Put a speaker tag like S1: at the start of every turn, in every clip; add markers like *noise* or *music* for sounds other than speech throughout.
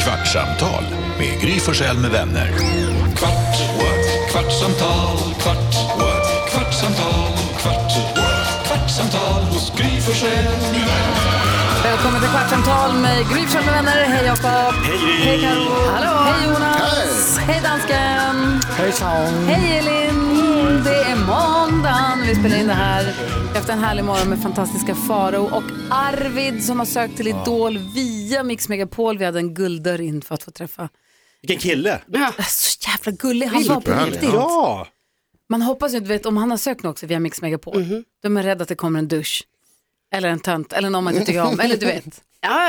S1: Kvartsamtal med Gry Forssell med vänner. Kvart, what? kvartsamtal, kvart, what? kvartsamtal, kvart, what? kvartsamtal hos Gry Forssell med vänner.
S2: Välkommen till Kvartsamtal med Gry Forssell med vänner. Hej Jakob! Hej! Hej Karo. Hallå! Hej Jonas! Hej, dansken!
S3: Hejsan!
S2: Hej Elin! Det är måndagen. Vi spelar in det här efter en härlig morgon med fantastiska Faro och Arvid som har sökt till Idol via Mix Megapol. Vi hade en gulddörr in för att få träffa.
S3: Vilken kille!
S2: Äh, Så jävla gullig han var på riktigt.
S3: Ja!
S2: Man hoppas ju, du vet, om han har sökt något också via Mix Megapol,
S3: Mhm.
S2: då är man rädd att det kommer en dusch. Eller en tönt, eller någon man inte tycker
S3: *laughs*
S2: om, eller du vet.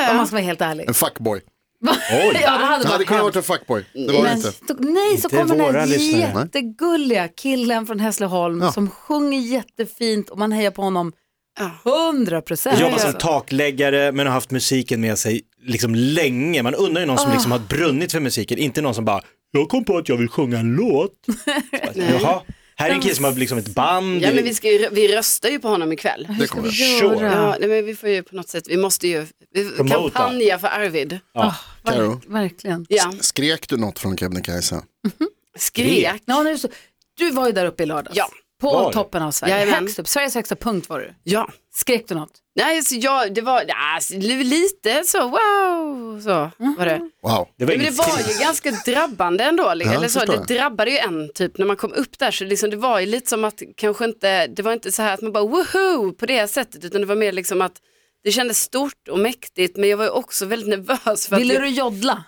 S2: Om man ska vara helt ärlig.
S4: En fuckboy.
S2: Oj. ja, det hade
S4: Det
S2: varit
S4: hade kunnat
S2: hemskt.
S4: varit en fuckboy. Det var det
S2: Men
S4: inte.
S2: så- nej, så
S3: Inte
S2: kommer den
S3: våra
S2: här
S3: lyssnare.
S2: jättegulliga killen från Hässleholm
S4: Ja.
S2: som sjunger jättefint och man hejar på honom 100 procent.
S3: Jobbar som takläggare men har haft musiken med sig liksom länge. Man undrar ju någon
S5: Ah.
S3: som liksom har brunnit för musiken, inte någon som bara “jag kom på att jag vill sjunga en
S5: *laughs*
S3: låt”. Så bara, Jaha, här är en kille som har liksom ett band.
S5: Ja men vi, ska ju, vi röstar ju på honom ikväll.
S4: Det kommer jag.
S3: Sure.
S5: Ja, nej, men vi får ju på något sätt, vi måste ju vi,
S3: Promota.
S5: kampanja för Arvid.
S4: Karo.
S2: Ver- verkligen.
S5: Ja,
S4: Skrek du något från Kebnekaise?
S5: skrek.
S2: Ja, nu så, du var ju där uppe i lördags.
S5: Ja.
S2: På
S3: Var?
S2: toppen av Sverige.
S5: Jajamän.
S2: Högst upp. Sveriges högsta punkt var du.
S5: Ja,
S2: Skrek du något?
S5: nej så jag, det var ja, så li- lite så wow, så var det.
S4: Wow.
S3: Det var
S5: Men det
S3: inget
S5: var ju ganska drabbande ändå, liksom.
S4: Ja,
S5: eller så,
S4: förstår
S5: det
S4: jag.
S5: drabbade ju en typ när man kom upp där så liksom, det var ju lite som att kanske inte, det var inte så här att man bara woho på det sättet utan det var mer liksom att det kändes stort och mäktigt men jag var ju också väldigt nervös. För att
S2: Ville
S5: jag-
S2: du joddla?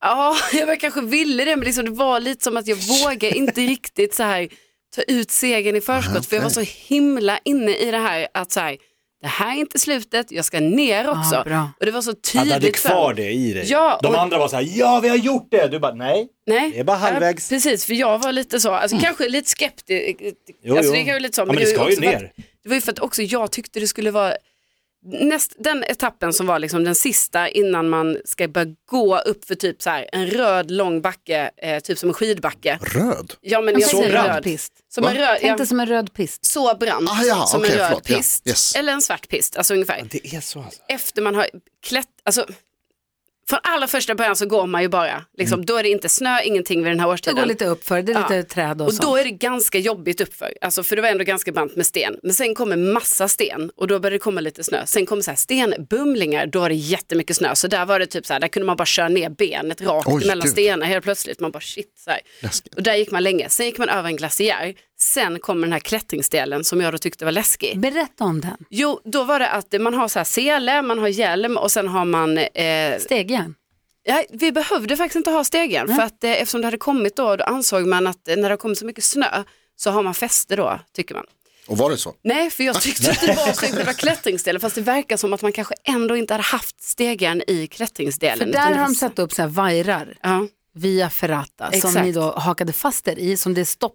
S5: Ja, *laughs* jag var kanske ville det, men liksom, det var lite som att jag vågade inte riktigt så här, ta ut segern i förskott.
S4: Aha,
S5: För jag var så
S4: okej.
S5: himla inne i det här att så här, det här är inte slutet, jag ska ner också.
S2: Ah, bra.
S5: och det var så
S3: Ja,
S5: tydligt.
S3: du hade
S5: sen.
S3: kvar det i dig.
S5: Ja,
S3: De
S5: och-
S3: andra var så här, ja vi har gjort det. Du bara, nej.
S5: Nej,
S3: Det är bara halvvägs. Mm.
S5: Ja, precis, för jag var lite så, alltså, kanske lite skeptisk.
S3: Jo,
S5: alltså,
S3: jo.
S5: Det, kan ju lite så,
S3: Ja, men det
S5: var
S3: ska ju
S5: också för
S3: ner.
S5: Att, det var ju för att också jag tyckte det skulle vara Näst, den etappen som var liksom den sista innan man ska börja gå upp för typ så här, en röd lång backe, eh, typ som en skidbacke.
S4: Röd?
S5: Ja men jag
S2: Tänk dig
S5: säger
S2: Alltså, en röd
S5: röd.
S2: pist.
S5: Som en röd,
S2: Tänk
S5: ja,
S2: dig som en röd pist.
S5: så brant
S4: Ah, ja,
S5: som
S4: okej,
S5: en röd
S4: förlåt, ja,
S5: pist.
S4: yes. Mm.
S5: Eller en svart pist, alltså ungefär.
S3: Det är så alltså.
S5: Efter man har klätt, alltså från allra första början så går man ju bara, liksom,
S4: Mm.
S5: då är det inte snö, ingenting vid den här
S2: Det
S5: årstiden.
S2: går lite uppför, det är
S5: Ja.
S2: lite träd och,
S5: Och
S2: sånt.
S5: då är det ganska jobbigt uppför, alltså, för det var ändå ganska brant med sten. Men sen kommer massa sten och då börjar det komma lite snö. Sen kommer så här stenbumlingar, då är det jättemycket snö. Så där var det typ så här, där kunde man bara köra ner benet rakt
S4: Oj,
S5: mellan
S4: gud.
S5: stenar helt plötsligt. Man bara shit så här.
S4: Läskigt.
S5: Och där gick man länge. Sen gick man över en glaciär. Sen kommer den här klättringsdelen som jag då tyckte var läskig.
S2: Berätta om den.
S5: Jo, då var det att eh, man har så här sele, man har hjälm och sen har man eh,
S2: Stegjärn.
S5: Ja, vi behövde faktiskt inte ha stegen för att eh, eftersom det hade kommit då, då ansåg man att eh, när det har kommit så mycket snö så har man fäste då, tycker man.
S4: Och var det så?
S5: Nej, för jag tyckte att det var så i själva klättringsdelen, fast det verkar som att man kanske ändå inte hade haft stegen i klättringsdelen.
S2: För
S5: utan
S2: där
S5: det
S2: har
S5: var
S2: de
S5: så-
S2: satt upp så här vajrar.
S5: Ja,
S2: via Ferrata som
S5: Exakt.
S2: ni då hakade fast er i som det är stopp,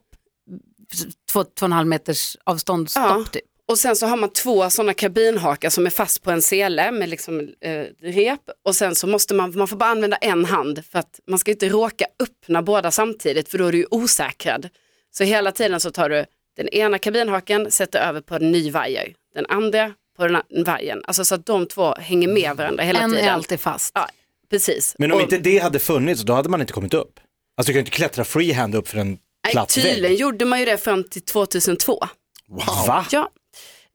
S2: två, två och en halv meters avstånd stopp
S5: Ja.
S2: typ.
S5: och sen så har man två sådana kabinhakar som är fast på en sele med liksom eh, rep och sen så måste man, man får bara använda en hand för att man ska inte råka öppna båda samtidigt för då är du ju osäkrad. Så hela tiden så tar du den ena kabinhaken, sätter över på en ny vajer, den andra på den andra vajern. Alltså så att de två hänger med varandra hela
S2: En
S5: tiden.
S2: är alltid fast.
S5: Ja, precis.
S3: Men om
S5: Och-
S3: inte det hade funnits, då hade man inte kommit upp. Alltså du kan ju inte klättra freehand upp för en
S5: Nej,
S3: platt
S5: tydligen
S3: vägg.
S5: gjorde man ju det fram till 2002.
S4: Wow.
S3: Va?
S5: Ja.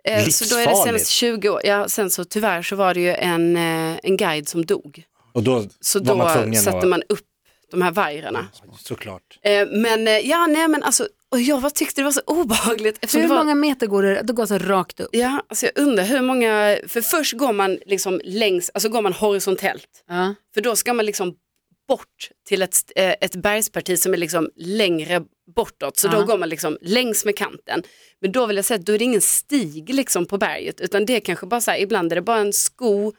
S5: Eh, Så då är det
S3: Livsfarligt.
S5: senast 20 år. Ja, sen så tyvärr så var det ju en, eh, en guide som dog.
S3: Och då
S5: Så
S3: var
S5: då
S3: man tvungen
S5: satte
S3: att...
S5: man upp de här vajrarna.
S3: Såklart.
S5: Eh, Men eh, ja, nej men alltså, och jag var, tyckte det var så obehagligt.
S2: Så
S5: Eftersom
S2: hur
S5: det var,
S2: många meter går det? Det går så rakt upp.
S5: Ja, alltså jag undrar hur många, för först går man liksom längs, alltså går man horisontellt.
S2: Ja.
S5: För då ska man liksom bort till ett, st- eh, ett bergsparti som är liksom längre bortåt. Så
S2: Ja.
S5: då går man liksom längs med kanten. Men då vill jag säga att då är det ingen stig liksom på berget utan det är kanske bara så här, ibland är det bara en sko,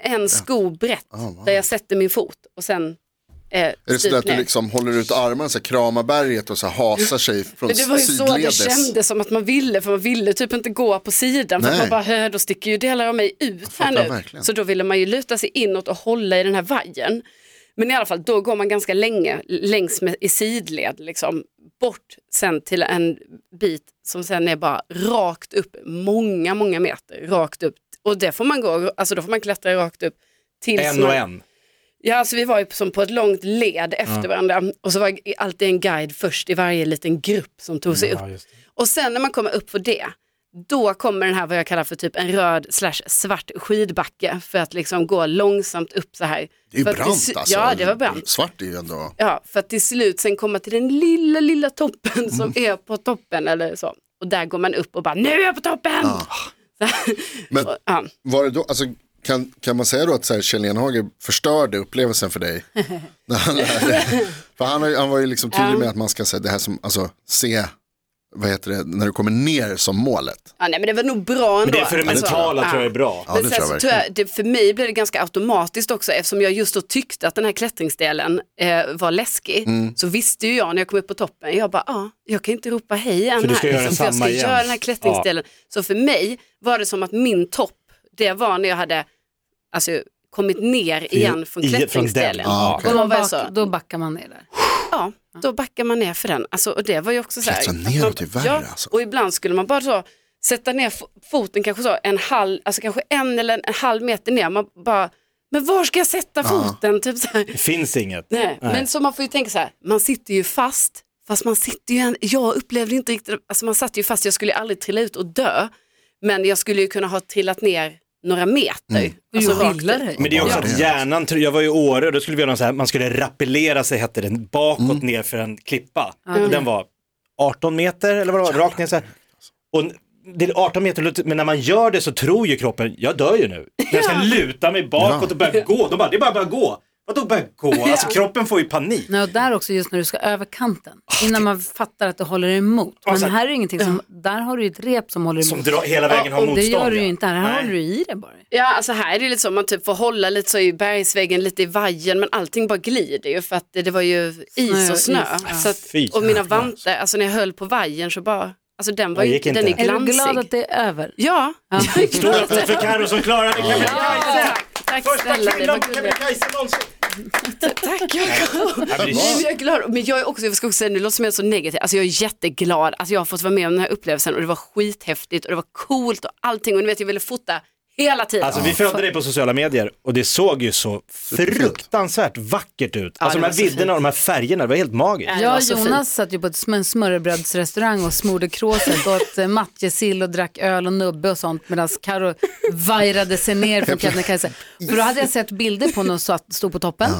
S5: en sko brett
S4: Ah, wow.
S5: där jag sätter min fot och sen eh,
S4: Är det så där att du
S5: ner.
S4: liksom håller ut armarna, så här, kramar berget och så här, hasar sig från
S5: Men det var ju så det
S4: sidledes?
S5: kändes som att man ville, för man ville typ inte gå på sidan. För att
S4: Nej.
S5: man bara, "Hö, då sticker ju delar av mig ut här
S4: fattar
S5: nu.
S4: verkligen.
S5: Så då ville man ju luta sig inåt och hålla i den här vajern. Men i alla fall, då går man ganska länge längs med, i sidled, liksom, bort sen till en bit som sen är bara rakt upp, många, många meter rakt upp. Och det får man gå, alltså då får man klättra rakt upp. Tills
S3: En och
S5: man,
S3: en.
S5: Ja, alltså vi var ju som på ett långt led efter varandra och så var alltid en guide först i varje liten grupp som tog sig upp. Och sen när man kommer upp för det, då kommer den här vad jag kallar för typ en röd slash svart skidbacke för att liksom gå långsamt upp så här.
S4: Det är ju
S5: För att till
S4: brant
S5: slu-
S4: alltså.
S5: Ja, det var brant.
S4: Svart är ju ändå.
S5: Ja, för att till slut sen komma till den lilla, lilla toppen som
S4: Mm.
S5: är på toppen eller så. Och där går man upp och bara, nu är jag på toppen! *laughs* Så här.
S4: Men-
S5: och, ja.
S4: Var det då, alltså, kan, kan man säga då att så här, Kjell Enhage förstörde upplevelsen för
S5: *laughs*
S4: dig? När han, lärde- för han, har ju- han var ju liksom tydlig med att man ska säga det här som, alltså se, vad heter det, när du kommer ner som målet.
S5: ja, nej men det var nog bra ändå.
S3: Men det är för det
S4: det tror jag.
S3: mentala tror jag är bra.
S4: Ja,
S5: Men
S4: det
S5: sen
S4: tror jag
S5: så tror
S4: verkligen.
S5: jag, det, för mig blev det ganska automatiskt också eftersom jag just då tyckte att den här klättringsdelen eh, var läskig.
S3: Mm.
S5: Så visste ju jag när jag kom upp på toppen, jag bara, ah, jag kan inte ropa hej än
S3: För du ska
S5: här, liksom,
S3: göra
S5: för jag
S3: samma
S5: ska
S3: igen.
S5: göra den här klättringsdelen. Så för mig var det som att min topp, det var när jag hade alltså, kommit ner igen från
S3: i- från
S5: klättringsdelen.
S3: den.
S4: Ah, okej.
S5: Och
S2: Då,
S5: man bara
S2: back,
S5: så,
S2: då backar man ner där.
S5: ja, då backar man ner för den. Alltså, och det var ju också så här.
S4: Klättra neråt är värre,
S5: ja,
S4: alltså.
S5: Och ibland skulle man bara så sätta ner fo- foten kanske så en halv, alltså kanske en eller en, en halv meter ner. Man bara, men var ska jag sätta foten? Typ så här.
S3: Det finns inget.
S5: Nej. Men så man får ju tänka så här, man sitter ju fast, fast man sitter ju, en, jag upplevde inte riktigt, alltså man satt ju fast, jag skulle ju aldrig trilla ut och dö, men jag skulle ju kunna ha trillat ner några meter.
S4: Mm.
S5: Alltså,
S2: Du
S5: rakt
S2: gillar
S5: ut.
S2: dig.
S3: Men det är också
S4: Ja.
S3: att hjärnan, tror- jag var i Åre, då skulle vi göra något så här, man skulle rappellera sig hette det, bakåt ner för en klippa. Och den var 18 meter eller vad det var, rakt ner så här. Och n- det är 18 meter, lut- men när man gör det så tror ju kroppen, jag dör ju nu. Jag ska luta mig bakåt och börja gå, de bara, det är bara att börja gå. Vadå börja gå? Alltså kroppen får ju panik.
S2: Nej, och där också just när du ska över kanten, innan man fattar att du håller emot. Men
S3: så här-
S2: här är ingenting som, där har du ju ett rep som håller
S3: Som
S2: emot.
S3: drar hela vägen har
S5: och det
S2: Det
S3: motstånd.
S2: gör du
S3: ja.
S2: ju inte här, här
S3: Nej.
S2: håller du i det bara.
S5: Ja, alltså här är det lite så, man typ får hålla lite så i bergsväggen, lite i vajen, men allting bara glider ju för att det, det var ju is
S2: och
S5: och snö.
S2: is,
S5: Så att,
S3: Fy
S5: och mina
S3: jävlar.
S5: vantar, alltså när jag höll på vajen så bara, alltså den var
S3: Det
S5: ju,
S3: gick inte.
S5: den
S3: Är
S5: är
S2: Är du
S5: glansig.
S2: glad att det är över?
S5: Ja, jag är glad
S3: Stora
S5: att det
S3: applåd för Carro som klarade Kebnekaise!
S5: tack, tack
S3: Första
S5: snälla, det
S3: killen
S5: var
S3: på
S5: gulligt.
S3: Kebnekaise någonsin.
S5: Tack, jag
S3: Ja, men det är
S5: Nej, men jag är glad, men jag är också, jag ska också säga, nu låter som jag är så negativ, alltså jag är jätteglad att jag har fått vara med om den här upplevelsen och det var skithäftigt och det var coolt och allting och ni vet jag ville fota hela tiden.
S3: Alltså vi följde dig på sociala medier och det såg ju så fruktansvärt vackert ut. Alltså de
S5: det
S3: här
S5: var så
S3: vidderna
S5: fint.
S3: och de här färgerna, det var helt magiskt.
S5: Ja, det
S2: Jag
S5: var
S2: och
S5: så
S2: Jonas
S5: fint.
S2: satt ju på ett smör- smörrebrödsrestaurang och smorde kråset och åt eh, matjessill och drack öl och nubbe och sånt medan Karo vajrade sig ner från Kebnekaise. För då hade jag sett bilder på när hon satt- stod på toppen.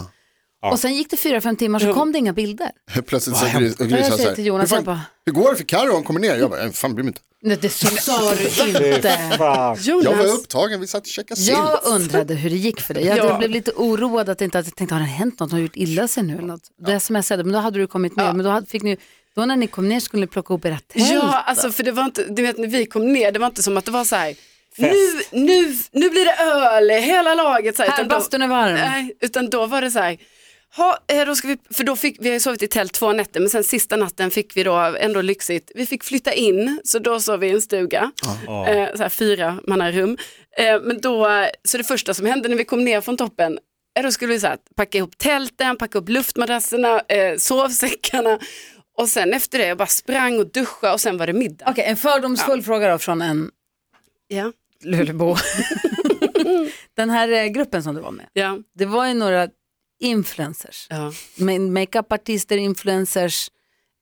S2: Och sen gick det fyra, fem timmar så kom det inga bilder.
S4: Plötsligt så gris, och
S2: Jag
S4: gris så
S2: säger
S4: här,
S2: till Jonas,
S4: hur,
S2: jag bara-
S4: fan, hur går det för Carro? Hon kommer ner. Jag bara, "Jag fan bryr mig inte.
S2: Nej, det så sa du inte.
S3: Fan.
S4: Jag var
S5: Jonas,
S4: upptagen, vi satt och käkade sill.
S2: Jag undrade hur det gick för dig. Jag
S5: Ja.
S2: blev lite oroad att, inte, att jag tänkte, har det hänt något? Har du gjort illa sig nu eller något? Det som jag sade, men då hade du kommit med. Men då hade, fick ni, då när ni kom ner skulle ni plocka upp era tält.
S5: ja alltså för det var inte, du vet när vi kom ner, det var inte som att det var så här, nu, nu, nu blir det öl, hela laget. Så här,
S2: Här,
S5: utan då-
S2: bastun är varm.
S5: Nej, utan då var det så här, ha, eh, då ska vi, för då fick, vi har ju sovit i tält två nätter men sen sista natten fick vi då ändå lyxigt, vi fick flytta in så då sov vi i en stuga, eh, så här fyra mannarum. Eh, men då, eh, så det första som hände när vi kom ner från toppen, eh, då skulle vi så här, packa ihop tälten, packa upp luftmadrasserna, eh, sovsäckarna och sen efter det jag bara sprang och duschade och sen var det middag.
S2: Okej, en fördomsfull fråga då från en
S5: Ja. *laughs*
S2: Lulebo. Den här eh, gruppen som du var med,
S5: Ja.
S2: det var ju några influencers.
S5: Ja.
S2: Men Makeupartister, influencers,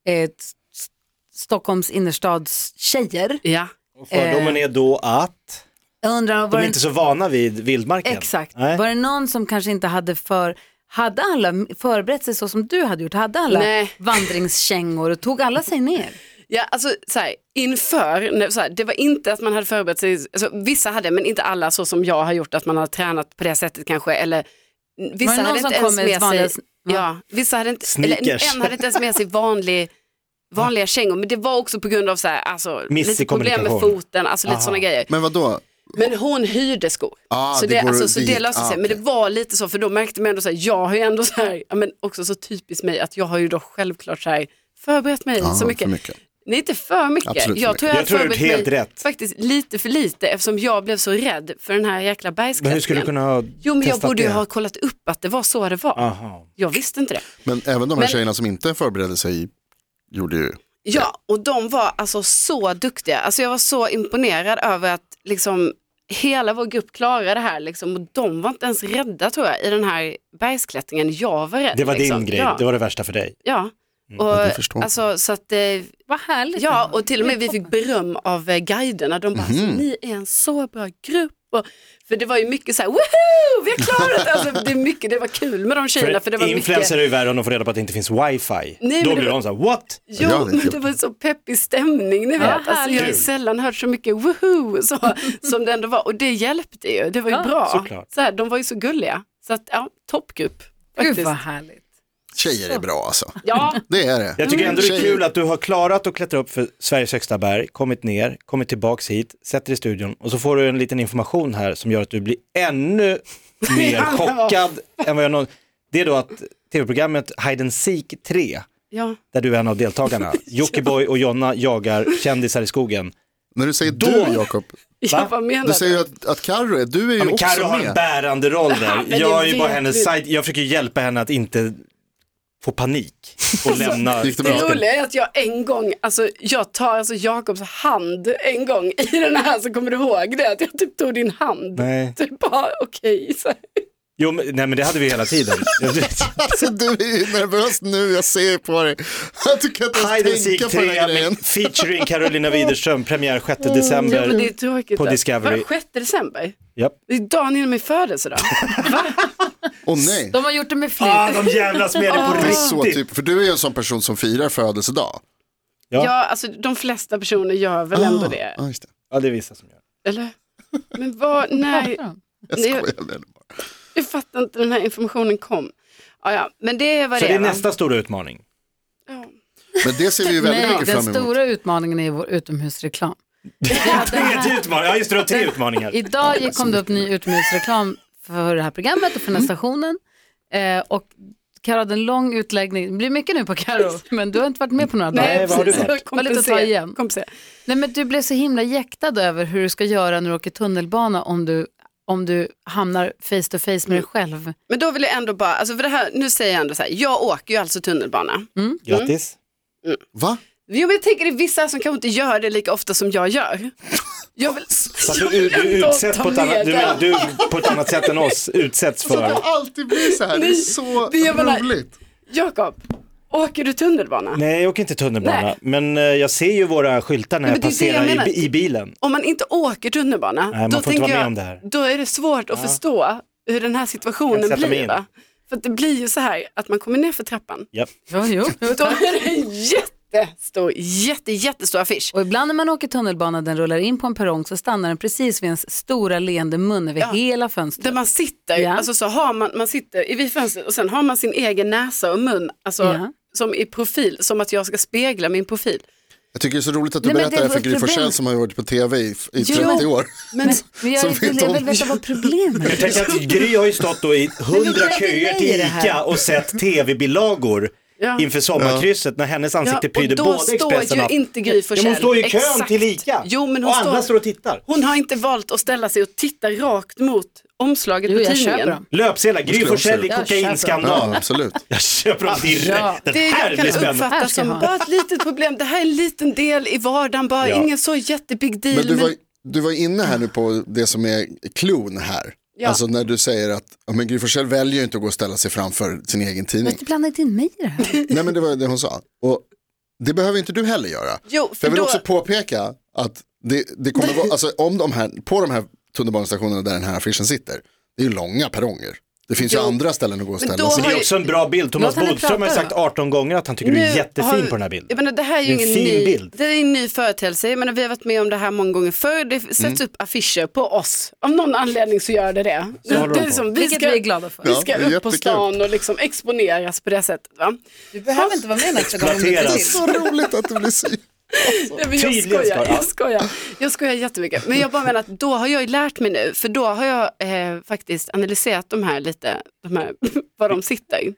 S2: eh, s- s- Stockholms innerstads tjejer.
S5: ja.
S3: Fördomen är då att
S2: Jag undrar,
S3: de
S2: var
S3: är
S2: det,
S3: inte så vana vid vildmarken.
S2: exakt,
S3: Nej.
S2: var det någon som kanske inte hade för hade alla förberett sig så som du hade gjort? Hade alla
S5: Nej.
S2: vandringskängor och tog alla sig ner?
S5: Ja, alltså så här, inför, när- så här, det var inte att man hade förberett sig, alltså, vissa hade men inte alla så som jag har gjort att man har tränat på det sättet kanske eller n- vissa
S2: någon
S5: hade
S2: som
S5: inte
S2: kom
S5: ens
S2: med
S5: med
S2: vanliga
S5: sig,
S2: sn- ja.
S5: ja, vissa hade inte, eller,
S3: Sneakers.
S5: en hade inte ens med
S3: *laughs*
S5: sig vanlig, vanliga kängor men det var också på grund av så här, alltså,
S3: Miss i
S5: lite problem med
S3: kommunikation.
S5: foten, alltså lite sådana grejer.
S4: Men vadå?
S5: Men hon hyrde skor.
S4: Ah,
S5: så
S4: det
S5: det,
S4: går
S5: alltså, så
S4: dit.
S5: det löste
S4: Ah,
S5: sig. Men
S4: okej.
S5: det var lite så, för då märkte man ändå så här, jag har ju ändå så här, ja, men också så typiskt mig att jag har ju då självklart så här förberett mig
S4: Ah,
S5: så mycket.
S4: för mycket.
S5: Nej, inte för mycket.
S4: Absolut för
S5: jag
S4: mycket.
S5: tror jag,
S3: Jag
S5: hade
S3: tror du har
S5: förberett
S3: gjort helt
S5: mig
S3: rätt.
S5: faktiskt lite för lite eftersom jag blev så rädd för den här jäkla
S3: Men
S5: bergsklättringen.
S3: hur skulle du kunna ha
S5: Jo, men jag
S3: testat
S5: borde ju
S3: det? Ah.
S5: ha kollat upp att det var så det var.
S3: Aha.
S5: Jag visste inte det.
S4: Men även de här
S5: Men-
S4: tjejerna som inte förberedde sig gjorde ju,
S5: Ja, och de var alltså så duktiga. Alltså jag var så imponerad över att liksom hela vår grupp klarade det här liksom, och de var inte ens rädda tror jag i den här bergsklättringen. Jag var rädd.
S3: Det var
S5: liksom.
S3: din grej,
S5: Ja.
S3: det var det värsta för dig.
S5: ja.
S4: jag
S5: Och,
S4: förstår.
S5: alltså, så att, eh,
S2: Vad härligt.
S5: ja, och till och med vi fick beröm av eh, guiderna. De bara,
S3: Mhm.
S5: alltså, ni är en så bra grupp. Och, för det var ju mycket så här, woho, vi har klarat det! Alltså, det, är mycket, det var kul med de tjejerna. För det var mycket,
S3: influencer är ju värre om de får reda på att det inte finns wifi.
S5: men
S3: Då
S5: det
S3: blir
S5: var-
S3: de så här, what?
S5: Jo,
S4: Ja, det är
S5: men
S4: kul.
S5: det var så peppig stämning, ni vet. alltså, jag har
S3: härligt.
S5: sällan hört så mycket woho så,
S2: *laughs*
S5: som det ändå var. Och det hjälpte ju, det var ju bra.
S3: såklart.
S5: Så här, de var ju så gulliga. Så att, ja, toppgrupp.
S2: Gud
S5: faktiskt.
S2: vad härligt.
S4: Tjejer är bra alltså.
S5: Ja,
S4: Det är det.
S3: Jag tycker ändå det är
S4: Tjejer-
S3: kul att du har klarat att klättra upp för Sveriges högsta berg, kommit ner, kommit tillbaks hit, sätter dig i studion och så får du en liten information här som gör att du blir
S4: *laughs*
S3: ännu mer
S5: Ja.
S3: chockad än vad jag någon... Det är då att tv-programmet Hide and Seek 3,
S5: ja.
S3: där du är en av
S4: *laughs*
S3: deltagarna, Jockiboi och Jonna jagar kändisar i skogen.
S4: När du säger du Jakob,
S5: ja vad menar
S4: du
S5: du?
S4: säger ju att, att Carro är, du är ju
S3: Ja, men
S4: också
S3: Carro har en
S4: med.
S3: bärande roll där.
S5: men det
S3: Jag är ju
S5: vet
S3: bara hennes
S5: du.
S3: side, jag försöker hjälpa henne att inte få panik
S4: *laughs*
S3: och lämna.
S4: Gick det
S5: Det
S4: bra?
S5: roliga är att jag en gång, alltså jag tar alltså Jakobs hand en gång i den här, så kommer du ihåg det? Att jag typ tog din hand.
S3: Nej.
S5: Typ bara okej. så här.
S3: Jo, men, nej men det hade vi hela
S4: *laughs*
S3: tiden.
S4: *laughs* Alltså du är ju nervös nu, jag ser på dig. *laughs* Du kan inte
S3: Hide and
S4: ens
S3: Seek
S4: tänka på den
S3: 3
S4: här grejen.
S3: med *laughs* featuring Carolina Widerström, premiär 6
S5: Ja, men det är
S3: december.
S5: tråkigt.
S3: På
S5: då.
S3: Discovery.
S5: Var det 6 december?
S3: Japp.
S5: Det är dagen innan min födelsedag.
S4: Åh nej,
S2: De har gjort det med flit.
S3: Ah, de jävlas med dig
S4: det
S3: på
S4: är så
S3: riktigt.
S4: typ, för du är ju en sån person som firar födelsedag.
S3: Ja. Ah.
S5: Ja. alltså de flesta personer gör väl ändå det.
S4: Ja, Ah, just det.
S3: Ja, det är vissa som gör.
S5: Eller?
S3: *laughs*
S5: Men vad, nej,
S4: Jag
S5: Nej.
S4: skojar med dig bara.
S5: jag fattar inte den här informationen kom. Ja, ja, men det är vad
S3: Så
S5: det
S3: det
S5: är.
S3: är
S5: va?
S3: nästa stora utmaning.
S5: Ja.
S4: Men det ser vi ju väldigt
S2: Nej,
S4: mycket
S2: den
S4: fram emot.
S2: stora utmaningen är vår utomhusreklam.
S3: Tredje utmaning, ja just det, du har
S5: Mm.
S3: tre utmaningar.
S2: Idag gick- kom det upp ny utomhusreklam för det här programmet och för den här stationen. Eh, och Karo hade en lång utläggning. Det blir mycket nu på Karo, men du har inte varit med på några dagar.
S3: Nej, vad har du varit?
S5: precis.
S2: Vad lite att ta igen.
S5: Kompensera.
S2: Nej, men du blev så himla jäktad över hur du ska göra när du åker tunnelbana om du, om du hamnar face to face med dig själv.
S5: Men då vill jag ändå bara, alltså för det här, nu säger jag ändå så här, jag åker ju alltså
S3: Mm.
S5: tunnelbana.
S3: Grattis.
S4: Va?
S5: Jo men jag tänker det är vissa som kanske inte gör det lika ofta som jag gör. Jag vill,
S3: Så att du,
S5: jag
S3: du
S5: vill ändå
S3: utsätts
S5: ta
S3: på ett annat,
S5: med
S3: du,
S5: det.
S3: menar du på ett annat sätt än oss utsätts
S4: Så att det
S3: för.
S4: alltid blir så här, det är
S5: Nej,
S4: så
S5: det är bara-
S4: roligt.
S5: Jakob, åker du tunnelbana?
S3: Nej, jag åker inte tunnelbana,
S5: Nej.
S3: men eh, jag ser ju våra skyltar när
S5: Nej,
S3: jag
S5: men det är det jag
S3: passerar i,
S5: menar.
S3: bi- i bilen.
S5: om man inte åker tunnelbana,
S3: man får
S5: då,
S3: inte
S5: tänker
S3: vara med
S5: jag,
S3: om det här.
S5: då är det svårt att förstå hur den här situationen
S3: Jag sätter mig
S5: blir.
S3: in.
S5: Va? För att det blir ju så här att man kommer ner för trappan,
S3: Japp.
S2: Jo, jo.
S5: då är det en jättestor, jätte, jättestor affisch.
S2: Och ibland när man åker tunnelbana, den rullar in på en perrong, så stannar den precis vid ens stora leende mun över hela fönstret.
S5: Där man sitter,
S2: Ja.
S5: alltså så har man, man sitter i vid fönstret och sen har man sin egen näsa och mun, alltså
S2: Ja.
S5: som i profil, som att jag ska spegla min profil.
S4: Jag tycker det är så roligt att du
S2: Nej, men
S4: berättar det
S2: det
S4: här
S2: var
S4: för Gry
S2: ett problem.
S4: Forssell som har varit på tv i, i 30
S5: *laughs*
S4: år.
S5: Men
S2: Men jag,
S4: Som
S2: jag, vill-
S4: vet
S2: jag
S4: om-
S2: vill veta vad problemet är.
S3: Jag tänker att Gry har ju stått då i hundra
S2: vilka
S3: köer till
S2: grejer det här?
S3: ICA och sett tv-bilagor
S5: Ja.
S3: inför sommarkrysset när hennes ansikte pryder både
S5: står
S3: Expressen och
S5: ju
S3: Aftonbladet.
S5: inte Gry
S3: Ja, men
S5: Forssell.
S3: Hon står ju i kön
S5: Exakt.
S3: till ICA
S5: Jo, men hon
S3: och andra
S5: står-
S3: står och tittar.
S5: Hon har inte valt att ställa sig och titta rakt mot omslaget
S2: Jo,
S5: på
S2: jag
S5: tidningen.
S2: köper dem.
S3: Löpsedlar, Gry
S4: skulle jag
S3: Forssell i
S4: också
S2: göra. Jag
S3: kokainskandal.
S4: Ja, absolut.
S3: *laughs* Jag köper dem direkt.
S2: Ja.
S5: Det
S3: Det här
S5: jag
S3: blir
S5: kan
S3: spännande.
S2: Här
S5: uppfatta
S2: ska jag
S5: som
S2: ha.
S5: bara ett litet problem. Det här är en liten del i vardagen bara.
S3: Ja.
S5: Ingen så jättebig deal.
S4: Men du var,
S5: men-
S4: du var inne här nu på det som är klon här.
S5: Ja.
S4: Alltså när du säger att ja, men Gry Forssell väljer ju inte att gå och ställa sig framför sin egen tidning. *laughs*
S2: Du blandar inte in mig i det här.
S4: Nej men det var det hon sa. Och det behöver inte du heller göra.
S5: Jo,
S4: jag
S5: för
S4: vill
S5: då,
S4: också påpeka att det, det kommer vara, alltså om de här, på de här tunnelbanestationerna där den här affischen sitter, det är ju långa perronger. Det finns
S5: Jo.
S4: ju andra ställen att gå och
S5: Men
S4: ställa
S5: då
S4: sig.
S3: Det är också en bra bild.
S2: Låt
S3: Thomas
S2: henne
S3: Bodström har ju
S2: prata
S3: sagt 18 gånger att han tycker du är
S5: Nu
S3: jättefin
S5: har-
S3: på den här bilden.
S5: Jag menar, det här är ju
S3: Det är en
S5: ingen
S3: fin
S5: ny,
S3: bild.
S5: Det är en ny företeelse. Jag menar, vi har varit med om det här många gånger förr. Det sätts upp affischer på oss. Av någon anledning så gör det det.
S3: håller
S5: det
S3: de på.
S5: vi
S2: Vilket
S5: ska,
S2: vi är glada för.
S5: vi
S4: Ja,
S5: ska
S4: det är
S5: upp på
S4: jättekul.
S5: stan och liksom exponeras på det sättet. Va?
S2: Du behöver inte vara med nästa gång om du inte
S4: Det är
S2: vill.
S3: Exploateras.
S4: så roligt att det blir så.
S5: Nej, men jag,
S3: Tydligen
S5: skojar,
S3: ska- ja.
S5: jag skojar. Jag skojar jättemycket. Men jag bara menar att då har jag ju lärt mig nu, för då har jag eh, faktiskt analyserat de här lite, de här, *laughs* var de sitter.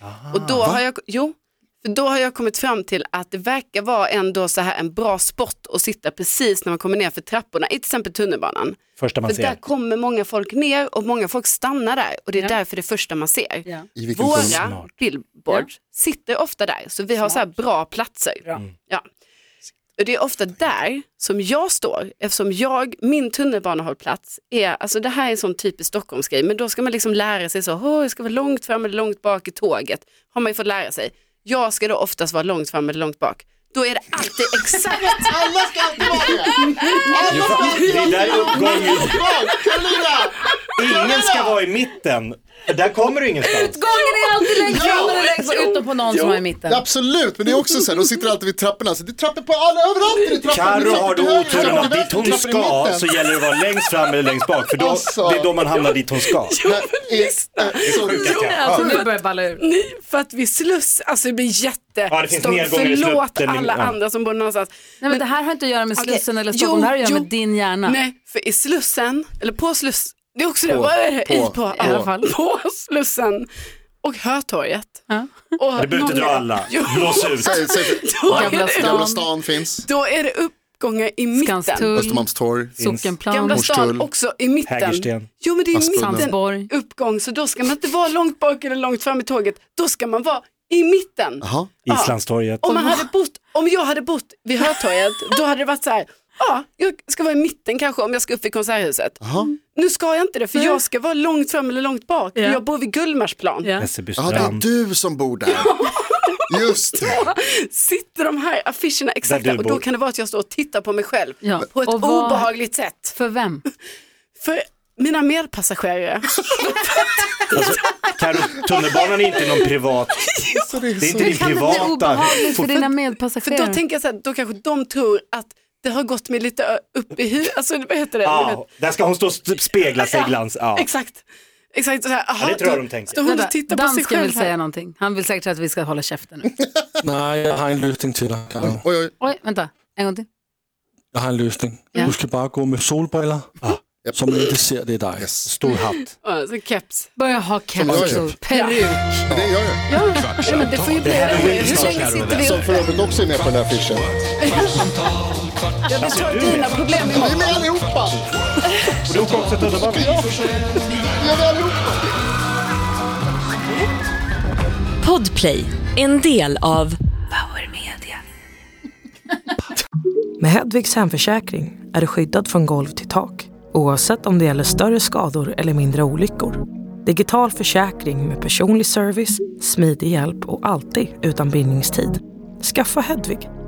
S3: Ah.
S5: och då har jag, jo, för då har jag kommit fram till att det verkar vara ändå så här en bra spot att sitta precis när man kommer ner för trapporna, i till exempel tunnelbanan.
S3: Första man
S5: För där
S3: ser.
S5: kommer många folk ner och många folk stannar där och det är därför det första man ser.
S2: *laughs* Ja.
S4: I vilken tunnel-
S5: Våra
S3: Smart. Mm.
S5: billboards sitter ofta där, så vi har så här bra platser.
S2: Bra.
S5: Ja. Det är ofta där som jag står eftersom jag, min tunnelbanehållplats är, alltså det här är en sån typisk Stockholmsgrej, men då ska man liksom lära sig så, åh jag ska vara långt fram eller långt bak i tåget, har man ju fått lära sig. Jag ska då oftast vara långt fram eller långt bak. Då är det alltid exakt,
S6: Alla ska alltid vara det! Alla ska alltid
S3: Det är där uppgången,
S6: vara Karolina!
S3: ingen ska vara i mitten. Där kommer du ingenstans.
S2: Utgången är alltid längst fram eller längst bak, utom på någon som är i mitten.
S4: Absolut, men det är också så här, de sitter alltid vid trapporna. Så det är trappor på alla, överallt är det trappor.
S3: Carro har
S4: du
S3: du oturen att dit hon ska så gäller det att vara längst fram eller längst bak för då,
S4: Alltså.
S3: det är då man hamnar dit hon ska.
S2: Alltså nu börjar jag balla ur.
S5: nej, för att vi sluss, alltså det blir jätte,
S3: Ja, det finns
S5: Stopp,
S3: nedgångar i
S5: förlåt
S3: slutet, men-
S5: alla
S3: ja.
S5: andra som bor någonstans.
S2: Nej men det här har inte att göra med
S5: Okej.
S2: Slussen eller Stockholm, det här har att göra
S5: Jo,
S2: med
S5: jo.
S2: din hjärna.
S5: Nej, för i Slussen, eller på Slussen, det är också det, vad är det?
S4: på,
S5: I på,
S4: på.
S5: i alla fall. På Slussen och Hötorget.
S2: Ja.
S5: Och
S3: Du behöver inte dra alla,
S5: Jo.
S3: blås ut.
S4: Säg, säg,
S5: *laughs* Då är
S2: Gamla
S5: det-
S4: Gamla
S2: stan,
S4: stan finns,
S5: Då är det uppgångar i mitten.
S2: Skanstull,
S4: Östermalmstorg.
S5: Gamla
S2: Sockenplan,
S5: stan
S4: Hornstull.
S5: också i mitten.
S3: Hägersten.
S5: Jo men det är i
S4: Aspudden.
S5: mitten
S2: Sandsborg.
S5: uppgång så då ska man inte vara långt bak eller långt fram i tåget. Då ska man vara i mitten.
S4: Jaha.
S3: Islandstorget.
S5: Om, man hade bott, om jag hade bott vid Hötorget då hade det varit så här, ja jag ska vara i mitten kanske om jag ska upp i Konserthuset.
S4: Jaha,
S5: Nu ska jag inte det för
S2: Nej.
S5: jag ska vara långt fram eller långt bak.
S2: Ja.
S5: Jag bor vid Gullmarsplan.
S2: Ja.
S4: Jaha, det är
S3: Hässelbystrand.
S4: du som bor
S5: *laughs*
S4: där. Just det.
S5: Sitter de här affischerna exakt
S3: Där du
S5: där och då
S3: bor.
S5: kan det vara att jag står och tittar på mig själv
S2: Ja.
S5: på ett
S2: Och vad-
S5: obehagligt sätt.
S2: För vem?
S5: För
S2: *laughs*
S5: mina medpassagerare.
S3: Carro, tunnelbanan är inte någon privat,
S4: Så det är
S3: det är
S4: så...
S3: inte din
S2: Kan det bli
S3: privata.
S2: obehagligt för dina
S5: För då
S2: medpassagerare?
S5: tänker jag så här, då kanske de tror att det har gått mig lite ö- upp i huvudet. Alltså vad heter det? Ni
S3: Ja,
S5: vet.
S3: där ska hon stå och st- spegla sig i glans. Ja.
S5: Exakt. Exakt. Så här, aha,
S3: det tror jag
S5: då
S3: de tänker.
S5: Står hon och tittar på sig
S2: Dansken
S5: själv
S2: vill säga
S5: här.
S2: någonting. Han vill säkert att vi ska hålla käften nu.
S7: Nej, jeg har en løsning til dig, Karo.
S4: Oj, oj.
S2: Oj, vänta. En gång till.
S7: Jeg har en løsning.
S2: Ja.
S7: Du skal bare gå med solbriller,
S4: Yep.
S7: så man ikke ser, det er dig.
S4: Yes.
S3: Stor hatt.
S5: Ja, så keps.
S2: Börja ha
S4: jag
S2: keps
S4: gör.
S2: och peruk.
S4: Men Det gör jag.
S5: Ja, ja, men det får ju bli Hur länge sitter vi
S4: Som för
S5: uppe?
S4: övrigt också är med på den här affischen.
S1: Kvartsamtal, kvart,
S5: Jag tar dina problem
S4: Vi är
S5: imorgon.
S4: med allihopa!
S3: Alltså, Och du åker också tunnelbanan.
S4: Vi är med allihopa!
S8: Podplay, en del av
S9: Med Hedvigs hemförsäkring är du skyddad från golv till tak oavsett om det gäller större skador eller mindre olyckor. Digital försäkring med personlig service, smidig hjälp och alltid utan bindningstid. Skaffa Hedvig